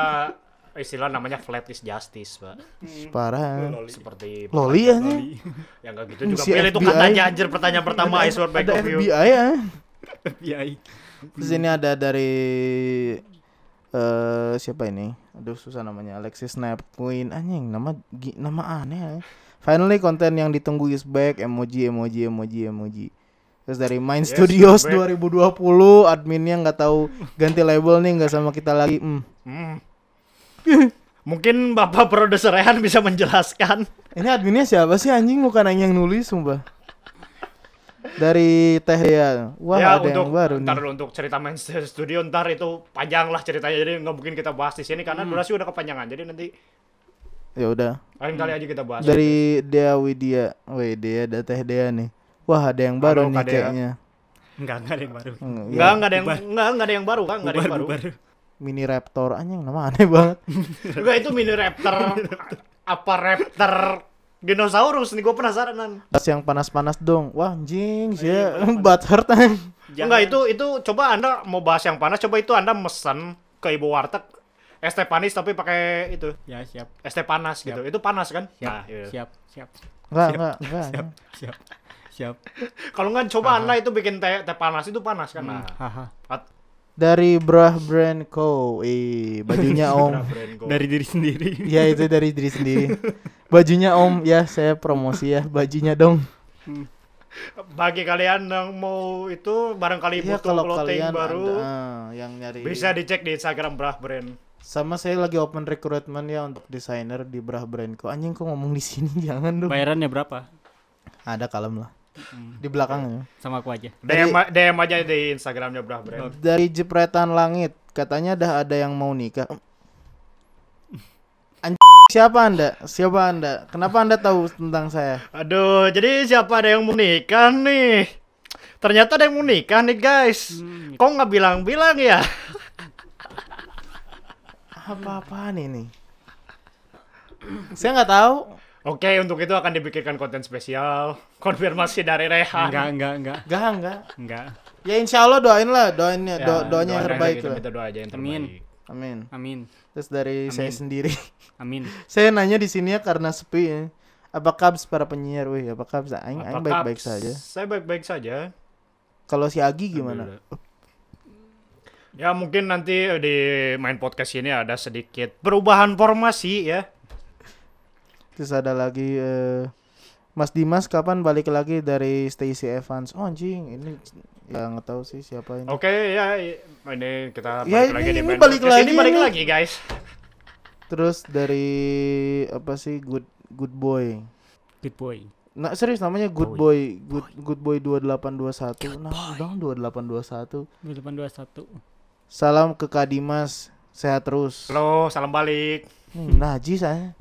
Speaker 1: istilah namanya flatlist justice pak.
Speaker 2: Parah.
Speaker 1: Seperti
Speaker 2: Loli anjing.
Speaker 1: yang gak gitu juga
Speaker 2: Si
Speaker 1: pilih itu
Speaker 2: FBI.
Speaker 1: katanya anjir pertanyaan pertama I swear back
Speaker 2: Ada
Speaker 1: of you.
Speaker 2: FBI ya.
Speaker 3: FBI.
Speaker 2: Terus ini ada dari eh siapa ini? Aduh susah namanya Alexis Snap Queen anjing nama gi- nama aneh. anjing. Finally konten yang ditunggu is back emoji emoji emoji emoji. Terus dari Mind
Speaker 1: Yes,
Speaker 2: Studios
Speaker 1: we're
Speaker 2: 2020 adminnya nggak tahu ganti label nih nggak sama kita lagi. Hmm.
Speaker 1: Hmm. Mungkin Bapak Produser Rehan bisa menjelaskan.
Speaker 2: Ini adminnya siapa sih anjing bukan anjing yang nulis sumpah. Dari Teh Dea. Wah,
Speaker 1: ya
Speaker 2: ada
Speaker 1: untuk
Speaker 2: yang baru
Speaker 1: ntar
Speaker 2: nih.
Speaker 1: dulu untuk cerita main studio ntar itu panjang lah ceritanya jadi nggak mungkin kita bahas di sini karena
Speaker 2: Hmm.
Speaker 1: durasi udah kepanjangan jadi nanti
Speaker 2: Ya udah.
Speaker 1: lain kali aja kita bahas.
Speaker 2: Dari Dea Widya. Weh, Dea ada Teh Dea nih. Wah, ada yang baru
Speaker 1: Halo,
Speaker 2: nih
Speaker 1: Kak Dea.
Speaker 2: kayaknya.
Speaker 3: Enggak, enggak ada yang baru.
Speaker 2: Hmm,
Speaker 1: Enggak,
Speaker 2: ya.
Speaker 1: enggak ada yang enggak, enggak ada yang baru, kan? Enggak ada yang
Speaker 3: Baru,
Speaker 1: baru.
Speaker 3: baru.
Speaker 2: Mini Raptor anjing nama aneh banget.
Speaker 1: Enggak itu mini raptor apa raptor dinosaurus nih gue penasaran. Nan.
Speaker 2: Tas yang panas-panas dong.
Speaker 1: Iya,
Speaker 2: Wah, anjing sih. Butthurt anjing.
Speaker 1: Enggak itu itu coba Anda mau bahas yang panas coba itu Anda mesen ke ibu warteg es teh panis tapi pakai itu
Speaker 3: Ya, siap.
Speaker 1: es teh panas gitu. Itu panas kan?
Speaker 3: Siap,
Speaker 1: Nah, iya.
Speaker 3: siap, siap,
Speaker 2: Enggak, enggak, enggak.
Speaker 3: Ah, siap,
Speaker 2: anjing.
Speaker 3: siap, siap.
Speaker 1: Kalau nggak coba Anda itu bikin teh teh panas itu panas kan. Nah.
Speaker 3: Hmm, Haha.
Speaker 1: At-
Speaker 2: Dari Brah Brand Co. Eh, bajunya Om.
Speaker 1: brand gua.
Speaker 3: Dari diri sendiri.
Speaker 2: Ya itu dari diri sendiri. Bajunya Om, ya saya promosi ya bajunya dong.
Speaker 1: Bagi kalian yang mau itu barangkali
Speaker 2: Iya
Speaker 1: butuh
Speaker 2: kalau
Speaker 1: clothing
Speaker 2: kalian
Speaker 1: baru
Speaker 2: ada, ah, yang nyari
Speaker 1: bisa dicek di Instagram Brah Brand.
Speaker 2: sama saya lagi open recruitment ya untuk desainer di Brah Brandco. Anjing kok ngomong di sini jangan dong.
Speaker 3: Bayarannya berapa?
Speaker 2: Ada kalem lah.
Speaker 1: Hmm.
Speaker 2: Di ya. belakangnya.
Speaker 3: Sama aku aja.
Speaker 1: DM, a- DM aja di Instagramnya Brah Brand.
Speaker 2: Dari jepretan langit katanya dah ada yang mau nikah. Anjing siapa Anda? Siapa Anda? Kenapa Anda tahu tentang saya?
Speaker 1: Aduh, jadi siapa ada yang mau nikah nih? Ternyata ada yang mau nikah nih guys.
Speaker 3: Hmm.
Speaker 1: Kok nggak bilang-bilang ya?
Speaker 2: Apa-apaan ini? saya nggak tahu.
Speaker 1: Oke, untuk itu akan dibikinkan konten spesial. Konfirmasi dari
Speaker 3: Enggak,
Speaker 1: Rehan.
Speaker 3: enggak, enggak.
Speaker 2: Enggak, enggak.
Speaker 3: Enggak.
Speaker 2: Ya insya Allah doain lah, doain ya, do-
Speaker 1: Ya,
Speaker 2: doanya yang
Speaker 1: doain
Speaker 2: terbaik
Speaker 1: aja,
Speaker 2: lah.
Speaker 1: Kita doa aja yang terbaik.
Speaker 3: Amin.
Speaker 2: Amin.
Speaker 3: Amin.
Speaker 2: Terus dari saya
Speaker 3: Amin.
Speaker 2: sendiri.
Speaker 3: Amin.
Speaker 2: saya nanya di sini ya karena sepi ya. Apa kabs para penyiar? Wih, apa kabs? Aing,
Speaker 1: Apa
Speaker 2: aing baik-baik
Speaker 1: kaps-
Speaker 2: saja.
Speaker 1: Saya baik-baik saja.
Speaker 2: Kalau si Agi gimana?
Speaker 1: Ya mungkin nanti di main podcast ini ada sedikit perubahan formasi ya.
Speaker 2: Terus ada lagi eh, Mas Dimas kapan balik lagi dari Stacy Evans? Oh anjing, ini ya nggak tahu sih siapa ini.
Speaker 1: Oke ya i- ini kita balik
Speaker 2: Ya, ini-
Speaker 1: lagi di
Speaker 2: ini
Speaker 1: main
Speaker 2: balik
Speaker 1: podcast.
Speaker 2: lagi
Speaker 1: ini balik
Speaker 2: ini.
Speaker 1: lagi guys.
Speaker 2: Terus dari apa sih Good Good Boy?
Speaker 3: Good boy.
Speaker 2: Nah, serius namanya Good Boy, Good Good Boy 2821. Nah, dong 2821.
Speaker 3: 821.
Speaker 2: Salam ke Kak Dimas, sehat terus.
Speaker 1: Loh, salam balik.
Speaker 2: Hmm, Najis saya.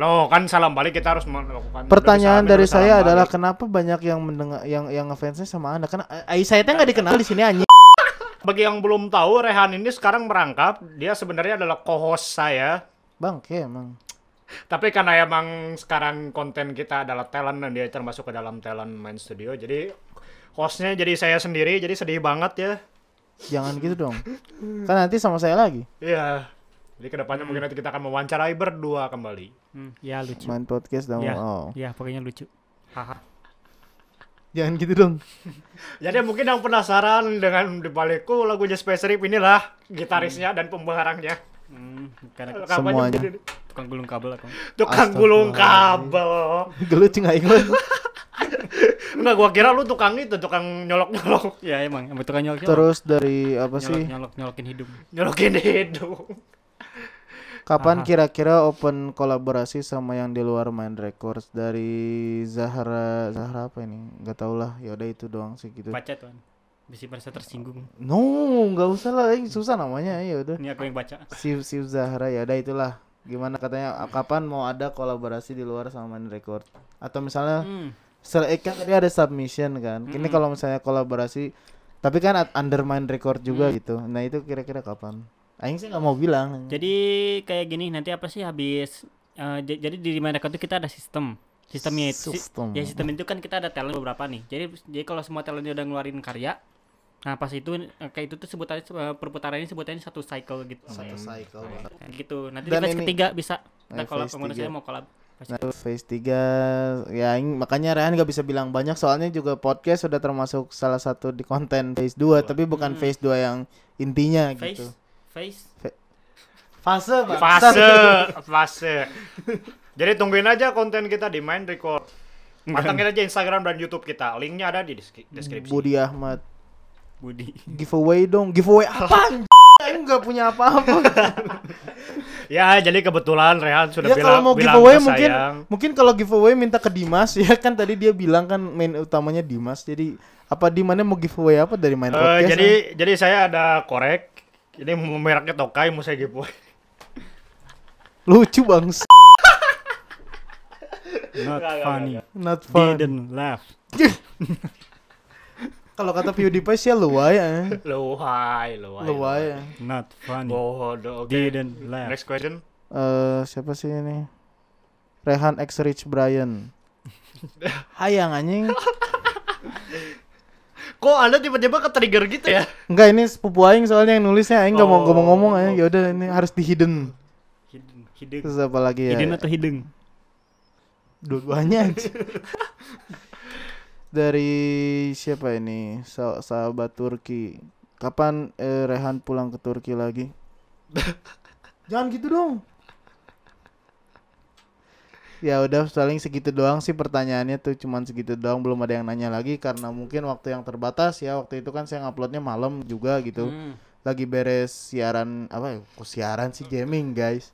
Speaker 1: Loh, kan salam balik kita harus melakukan
Speaker 2: Pertanyaan
Speaker 1: berusaha melakukan
Speaker 2: dari saya
Speaker 1: salam
Speaker 2: adalah
Speaker 1: balik.
Speaker 2: kenapa banyak yang mendengar yang yang ngefansnya sama Anda? Karena eh, saya teh nggak dikenal di sini anjing.
Speaker 1: bagi yang belum tahu Rehan ini sekarang merangkap, dia sebenarnya adalah co-host saya.
Speaker 2: Bang, ke emang.
Speaker 1: Tapi karena emang sekarang konten kita adalah talent dan dia termasuk ke dalam talent main studio, jadi hostnya jadi saya sendiri, jadi sedih banget ya.
Speaker 2: Jangan gitu dong. Kan nanti sama saya lagi.
Speaker 1: Iya. Jadi kedepannya mungkin nanti kita akan mewawancarai berdua kembali.
Speaker 3: Hmm. Ya lucu.
Speaker 2: Main podcast dong.
Speaker 3: Ya.
Speaker 2: Oh.
Speaker 3: Ya pokoknya lucu. Haha.
Speaker 2: Jangan gitu dong.
Speaker 1: Jadi mungkin yang penasaran dengan dibalikku lagunya Space Rip inilah gitarisnya dan pembeharangnya.
Speaker 3: Hmm, bukan aku.
Speaker 1: Rekamannya
Speaker 2: Semuanya.
Speaker 1: begini.
Speaker 3: tukang gulung kabel aku.
Speaker 1: Tukang gulung kabel.
Speaker 2: Gelucing aing lu.
Speaker 1: Enggak, gua kira lu tukang itu, tukang nyolok-nyolok,
Speaker 3: Ya emang, emang tukang nyolok.
Speaker 2: Terus dari apa sih?
Speaker 3: nyolok nyolokin hidung.
Speaker 1: nyolokin hidung.
Speaker 2: Kapan kira-kira open kolaborasi sama yang di luar Mind Records dari Zahra Zahra apa ini? Gak tau lah. Ya udah itu doang sih gitu.
Speaker 3: Baca tuan. Bisa merasa tersinggung.
Speaker 2: No, nggak usah lah. Aing susah namanya. Ya udah.
Speaker 3: Ini aku yang baca.
Speaker 2: Siu Siu Zahra ya udah itulah. Gimana katanya kapan mau ada kolaborasi di luar sama Mind Record? Atau misalnya
Speaker 3: Hmm.
Speaker 2: Sel- eh, kan tadi ada submission kan. Ini kalau misalnya kolaborasi tapi kan at- under Mind Record juga gitu. Nah, itu kira-kira kapan? Aing sih nggak mau bilang.
Speaker 3: Jadi kayak gini nanti apa sih habis eh, j- jadi di mana itu kita ada sistem. Sistemnya itu si-
Speaker 2: Sistem.
Speaker 3: ya sistem itu kan kita ada talent beberapa nih. Jadi jadi kalau semua talentnya udah ngeluarin karya Nah pas itu eh, kayak itu tuh sebutannya eh, perputarannya sebutannya satu cycle gitu.
Speaker 2: Satu cycle. banget.
Speaker 3: Kayak gitu. Nanti
Speaker 2: Dan
Speaker 3: di phase
Speaker 2: ini-
Speaker 3: ketiga bisa kita
Speaker 2: Eh,
Speaker 3: kolab
Speaker 2: phase
Speaker 3: menurut
Speaker 2: tiga.
Speaker 3: saya mau kolab. Phase
Speaker 2: Nah, terus phase 3 ya Aing makanya Rehan nggak bisa bilang banyak soalnya juga podcast sudah termasuk salah satu di konten phase 2 tapi bukan phase 2 yang intinya
Speaker 3: face
Speaker 2: gitu.
Speaker 3: face
Speaker 2: Fase, Pak.
Speaker 1: Fase, fase. Jadi tungguin aja konten kita di Mind Record. Pantengin aja Instagram dan YouTube kita. Linknya ada di deski- deskripsi.
Speaker 2: Hmm, Budi Ahmad
Speaker 3: Budi.
Speaker 2: giveaway dong. Giveaway apa? Aing nggak punya apa-apa.
Speaker 1: Ya, jadi kebetulan Rehan sudah
Speaker 2: ya
Speaker 1: bilang,
Speaker 2: kalau mau
Speaker 1: bilang
Speaker 2: giveaway
Speaker 1: ke
Speaker 2: mungkin
Speaker 1: sayang.
Speaker 2: mungkin kalau giveaway minta ke Dimas ya kan tadi dia bilang kan main utamanya Dimas jadi apa Dimasnya mau giveaway apa dari
Speaker 1: Eh,
Speaker 2: main podcast
Speaker 1: jadi
Speaker 2: ya?
Speaker 1: jadi saya ada korek. Ini mereknya Tokai mau saya giveaway.
Speaker 2: lucu bang s-
Speaker 3: Not
Speaker 1: enggak,
Speaker 3: funny.
Speaker 2: not fun
Speaker 3: Didn't laugh.
Speaker 2: kalau kata PewDiePie sih ya luaya eh.
Speaker 1: Luhai, luhai.
Speaker 2: luaya
Speaker 3: Not funny.
Speaker 1: Bodoh. Oke.
Speaker 3: Didn't laugh.
Speaker 1: Next question.
Speaker 2: Eh, siapa sih ini Rehan X Rich Brian hayang anjing
Speaker 1: Kok Anda tiba-tiba ke trigger gitu ya?
Speaker 2: enggak ini sepupu aing soalnya yang nulisnya aing nggak
Speaker 1: Oh.
Speaker 2: mau ngomong-ngomong aing ya udah ini harus di hidden
Speaker 3: Hidung. Hidung.
Speaker 2: terus apa lagi ya
Speaker 3: Hidung atau hidung?
Speaker 2: dua-duanya aja. dari siapa ini Sa- sahabat Turki kapan eh, Rehan pulang ke Turki lagi jangan gitu dong Ya udah paling segitu doang sih pertanyaannya tuh cuman segitu doang belum ada yang nanya lagi karena mungkin waktu yang terbatas ya waktu itu kan saya nguploadnya malam juga gitu
Speaker 3: Hmm.
Speaker 2: lagi beres siaran apa ya kok siaran sih gaming guys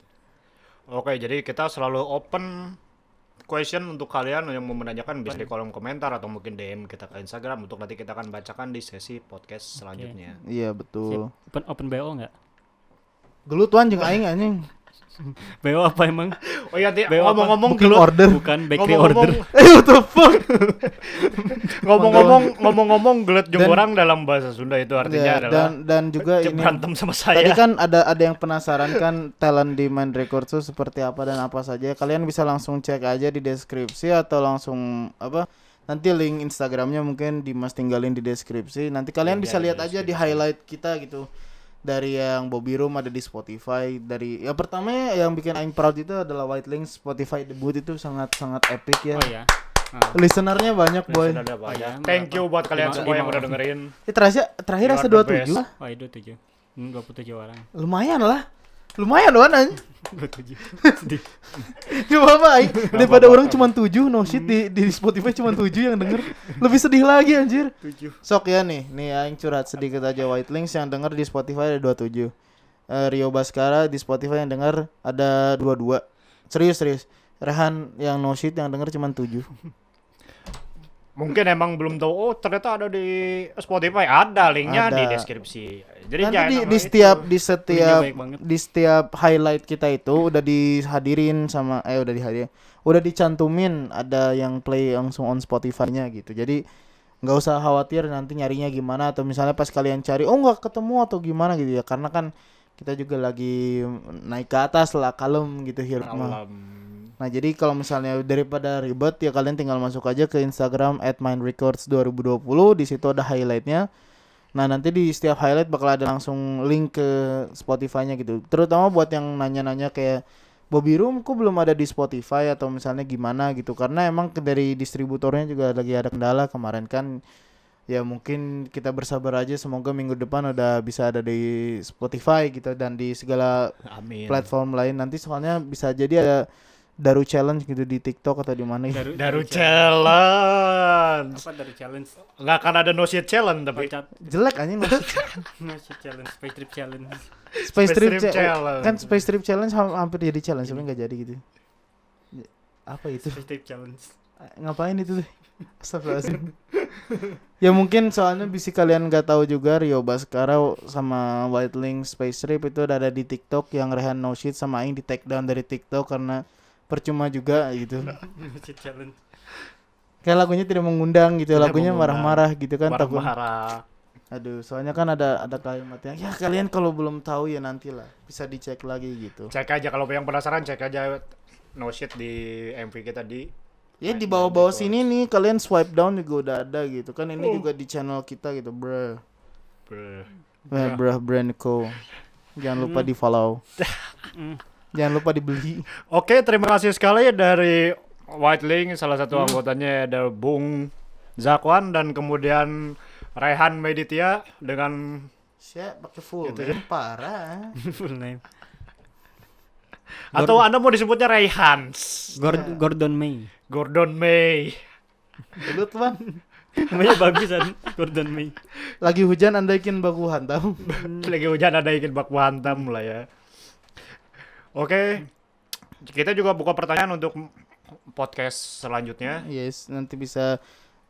Speaker 1: Oke, jadi kita selalu open question untuk kalian yang mau menanyakan bisa di kolom komentar atau mungkin DM kita ke Instagram untuk nanti kita akan bacakan di sesi podcast selanjutnya.
Speaker 2: iya
Speaker 3: Sip.
Speaker 2: betul
Speaker 3: Open open BO enggak?
Speaker 2: gelut tuan jeung aing anjing
Speaker 3: BO apa emang?
Speaker 1: Oh iya, ti-
Speaker 3: Beo apa?
Speaker 1: ngomong-ngomong
Speaker 2: Booking
Speaker 1: gelut.
Speaker 2: order
Speaker 3: Bukan bakery
Speaker 1: Ngomong-ngomong-
Speaker 3: order.
Speaker 2: eh what the fuck
Speaker 1: Ngomong-ngomong ngomong-ngomong gelut jeung
Speaker 2: Dan-
Speaker 1: orang dalam bahasa Sunda itu artinya
Speaker 2: Ya,
Speaker 1: adalah ya.
Speaker 2: dan dan juga
Speaker 1: "Cep,
Speaker 2: ini
Speaker 1: berantem sama
Speaker 2: Tadi
Speaker 1: saya.
Speaker 2: kan ada ada yang penasaran kan talent di Mind Records tuh seperti apa dan apa saja. Kalian bisa langsung cek aja di deskripsi atau langsung apa nanti link Instagramnya mungkin Dimas tinggalin di deskripsi. Nanti kalian
Speaker 1: Linknya
Speaker 2: bisa
Speaker 1: ada di
Speaker 2: lihat aja di highlight kita gitu dari yang Bobby Room ada di Spotify dari ya pertama yang bikin Aing proud itu adalah White Link Spotify debut itu sangat sangat epic ya.
Speaker 3: Oh ya.
Speaker 2: Listenernya banyak boy.
Speaker 1: Sudah ada apa
Speaker 3: Oh
Speaker 1: aja.
Speaker 3: iya,
Speaker 1: Thank you buat kalian
Speaker 3: Lima-
Speaker 1: semua yang
Speaker 3: lima
Speaker 1: udah
Speaker 3: orang.
Speaker 1: dengerin.
Speaker 2: Eh, terakhir terakhir
Speaker 1: You
Speaker 2: rasa
Speaker 1: are the
Speaker 2: 27
Speaker 1: best.
Speaker 2: lah.
Speaker 3: Oh, itu 7. Hmm, 27 orang.
Speaker 2: Lumayan lah. Lumayan loh anjing.
Speaker 3: 27. Sedih.
Speaker 2: Gak apa-apa Aing.
Speaker 1: apa-apa.
Speaker 2: Daripada orang cuma 7 No shit di, di Spotify cuma 7 yang denger Lebih sedih lagi anjir
Speaker 3: 7.
Speaker 2: Sok ya nih Nih Aing curhat sedikit aja White Links yang denger di Spotify ada 27 Eh, Rio Baskara di Spotify yang denger ada 22 Serius serius Rehan yang no shit yang denger cuma 7
Speaker 1: Mungkin emang belum tahu oh ternyata ada di Spotify ada linknya di
Speaker 2: Ada.
Speaker 1: deskripsi. Jadi
Speaker 2: Nanti
Speaker 1: jangan
Speaker 2: di,
Speaker 1: sama
Speaker 2: di
Speaker 1: itu.
Speaker 2: setiap di setiap
Speaker 3: Linknya baik banget.
Speaker 2: di setiap highlight kita itu udah dihadirin sama eh udah dihadirin udah dicantumin ada yang play langsung on Spotify-nya gitu. Jadi nggak usah khawatir nanti nyarinya gimana atau misalnya pas kalian cari oh nggak ketemu atau gimana gitu ya karena kan kita juga lagi naik ke atas lah kalem gitu hirup mah.
Speaker 1: Alam.
Speaker 2: Nah jadi kalau misalnya daripada ribet ya kalian tinggal masuk aja ke Instagram @mindrecords2020 di situ ada highlightnya. Nah nanti di setiap highlight bakal ada langsung link ke Spotify-nya gitu. Terutama buat yang nanya-nanya kayak Bobby Room kok belum ada di Spotify atau misalnya gimana gitu karena emang ke- dari distributornya juga lagi ada kendala kemarin kan ya mungkin kita bersabar aja semoga minggu depan udah bisa ada di Spotify gitu dan di segala
Speaker 1: Amin.
Speaker 2: platform lain nanti soalnya bisa jadi ada daru challenge gitu di TikTok atau di mana gitu.
Speaker 1: Daru challenge.
Speaker 3: Apa dari challenge?
Speaker 1: Nggak akan ada no shit challenge tapi
Speaker 2: Kan
Speaker 3: Pecat.
Speaker 2: Jelek anjing maksud-
Speaker 3: No shit challenge, space trip challenge.
Speaker 2: Space Trip
Speaker 1: Trip
Speaker 2: cha-
Speaker 1: Challenge.
Speaker 2: Kan Space Trip Challenge ham- hampir jadi challenge tapi nggak jadi gitu. Ya, Apa itu?
Speaker 3: Space trip challenge.
Speaker 2: Ngapain itu tuh? Astagfirullahaladzim. ya mungkin soalnya bisa kalian nggak tahu juga Rio Baskara sama White Link Space Trip itu udah ada di TikTok yang Rehan No Shit sama Aing di take down dari TikTok karena percuma juga gitu.
Speaker 3: No shit challenge.
Speaker 2: Kayak lagunya tidak mengundang gitu,
Speaker 1: Tidak
Speaker 2: lagunya
Speaker 1: mengundang.
Speaker 2: marah-marah gitu kan
Speaker 1: warna
Speaker 2: takut.
Speaker 1: marah.
Speaker 2: Aduh, soalnya kan ada ada kalimatnya. Ya kalian kalau belum tahu ya nantilah bisa dicek lagi gitu.
Speaker 1: Cek aja kalau yang penasaran cek aja no shit di MV kita di
Speaker 2: Ya di bawah-bawah sini nih kalian swipe down juga udah ada gitu kan ini
Speaker 1: Oh.
Speaker 2: juga di channel kita gitu, bro.
Speaker 1: Brr.
Speaker 2: Eh, bro Brandco. Jangan lupa di follow. Jangan lupa dibeli.
Speaker 1: Oke, terima kasih sekali dari White Link salah satu
Speaker 2: Hmm.
Speaker 1: anggotanya ada Bung Zakwan dan kemudian Rehan Meditya dengan
Speaker 2: Saya pakai full
Speaker 1: Gitu
Speaker 2: name, parah.
Speaker 3: Full name.
Speaker 1: atau Anda mau disebutnya Rehans,
Speaker 3: Gordon, Gordon May.
Speaker 1: Gordon May.
Speaker 2: Gelut Wan.
Speaker 3: Namanya bagusan kan, Gordon May.
Speaker 2: Lagi hujan andaikin baku hantam.
Speaker 1: Lagi hujan ada yang ingin baku hantam lah ya. Oke. Kita juga buka pertanyaan untuk podcast selanjutnya.
Speaker 2: Yes, nanti bisa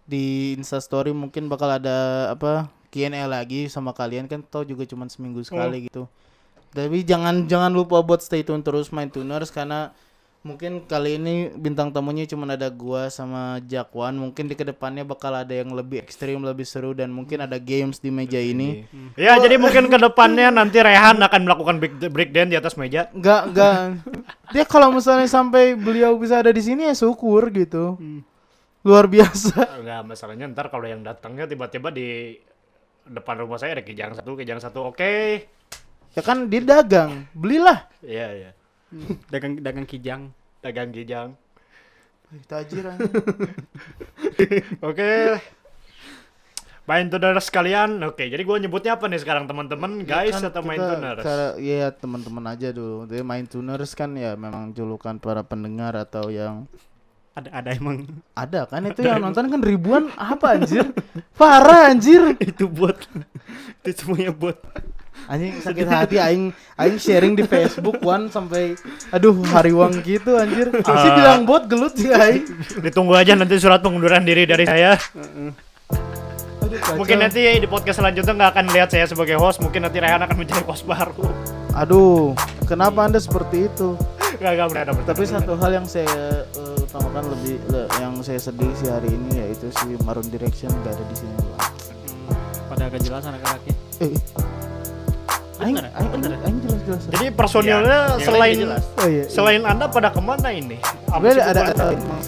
Speaker 2: di Instastory mungkin bakal ada apa Q&A lagi sama kalian kan tau juga cuman seminggu sekali gitu. Tapi jangan jangan lupa buat stay tune terus main tuners karena mungkin kali ini bintang tamunya cuman ada gua sama Jakwan. Mungkin di kedepannya bakal ada yang lebih ekstrim, lebih seru dan mungkin ada games di meja ini. Hmm.
Speaker 1: Ya, jadi mungkin ke depannya nanti Rehan akan melakukan break- breakdance di atas meja.
Speaker 2: Enggak, enggak. Dia kalau misalnya sampai beliau bisa ada di sini ya syukur gitu. Luar biasa.
Speaker 1: Enggak, masalahnya ntar kalau yang datangnya tiba-tiba di depan rumah saya ada kijang satu, kijang satu, oke.
Speaker 2: Ya kan dia dagang, belilah.
Speaker 1: Iya, iya.
Speaker 3: Dagang dagang kijang.
Speaker 1: Dagang kijang.
Speaker 2: Ih, Tajir anjing.
Speaker 1: Oke. Bye-bye. Main tuner sekalian. Oke, jadi gua nyebutnya apa nih sekarang teman-teman? Guys
Speaker 2: Kan
Speaker 1: atau main
Speaker 2: kita
Speaker 1: tuners?
Speaker 2: Cara, ya teman-teman aja dulu. Jadi main tuners kan ya memang julukan para pendengar atau yang
Speaker 3: ada ada emang
Speaker 2: ada kan itu yang nonton kan ribuan apa anjir? Parah anjir.
Speaker 3: itu buat itu semuanya buat
Speaker 2: Anjing sakit hati aing aing sharing di Facebook one sampai aduh hariwang gitu anjir. Si
Speaker 1: Ah.
Speaker 2: bilang bot gelut sih aing.
Speaker 1: Ditunggu aja nanti surat pengunduran diri dari saya.
Speaker 2: Aduh, kacau.
Speaker 1: Mungkin nanti di podcast selanjutnya nggak akan lihat saya sebagai host. Mungkin nanti Rehan akan mencari host baru.
Speaker 2: Aduh, kenapa Anda seperti itu?
Speaker 1: Gak gak berada
Speaker 2: Tapi satu hal yang saya eh, utamakan lebih le- yang saya sedih sih hari ini yaitu si Maroon Direction gak ada di sini. Bang.
Speaker 3: pada kejelasan laki-laki
Speaker 2: Eh, ya, aing
Speaker 3: Bener,
Speaker 2: aing
Speaker 3: bener.
Speaker 2: aing jelas-jelas.
Speaker 1: Jadi personilnya
Speaker 3: Iya, yang lain
Speaker 1: selain
Speaker 3: nggak jelas.
Speaker 2: Oh iya.
Speaker 1: selain anda pada kemana ini? Apa
Speaker 2: Sebenarnya
Speaker 1: sih
Speaker 2: ada
Speaker 1: bukan?
Speaker 2: ada,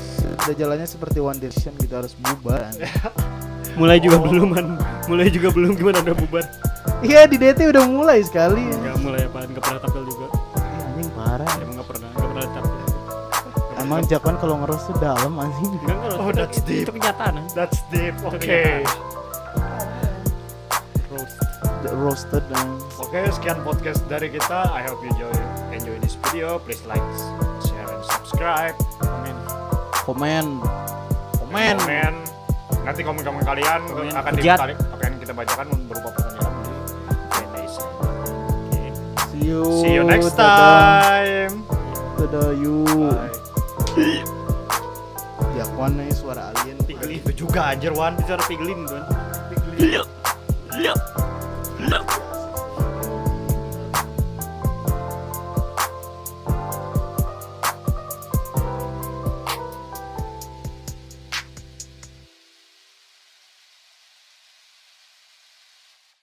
Speaker 2: ada jalannya seperti One Direction gitu harus bubar. anjing.
Speaker 3: mulai juga
Speaker 1: Oh.
Speaker 3: belum kan mulai juga belum gimana udah bubar
Speaker 2: Iya di DT udah mulai sekali.
Speaker 1: Iya.
Speaker 3: nggak mulai apaan nggak pernah tampil juga
Speaker 2: Ih, Anjing parah.
Speaker 3: emang nggak pernah nggak pernah tampil
Speaker 1: iya.
Speaker 2: Emang Jakwan kalau ngeros tuh dalam anjing.
Speaker 3: nggak nggak
Speaker 1: Oh,
Speaker 3: itu-
Speaker 1: that's
Speaker 3: itu,
Speaker 1: deep.
Speaker 3: itu kenyataan ah.
Speaker 1: That's deep. Oke.
Speaker 3: roast
Speaker 2: Roasted um, dan
Speaker 1: Oke, sekian podcast dari kita. I hope you enjoy enjoy this video. Please like, share, and subscribe. Komen,
Speaker 2: komen komen.
Speaker 1: komen. Nanti komen-komen kalian
Speaker 3: Komen.
Speaker 1: akan
Speaker 3: Hujat.
Speaker 1: ditarik, akan kita bacakan berupa pertanyaan di Q&A session. Oke.
Speaker 2: See you.
Speaker 1: See you next
Speaker 2: dadah.
Speaker 1: time.
Speaker 2: Dadah you.
Speaker 1: Bye.
Speaker 2: Jakwan nih suara alien.
Speaker 1: Piglin itu juga anjir Wan, itu ada piglin kan. Piglin.
Speaker 3: Lihat.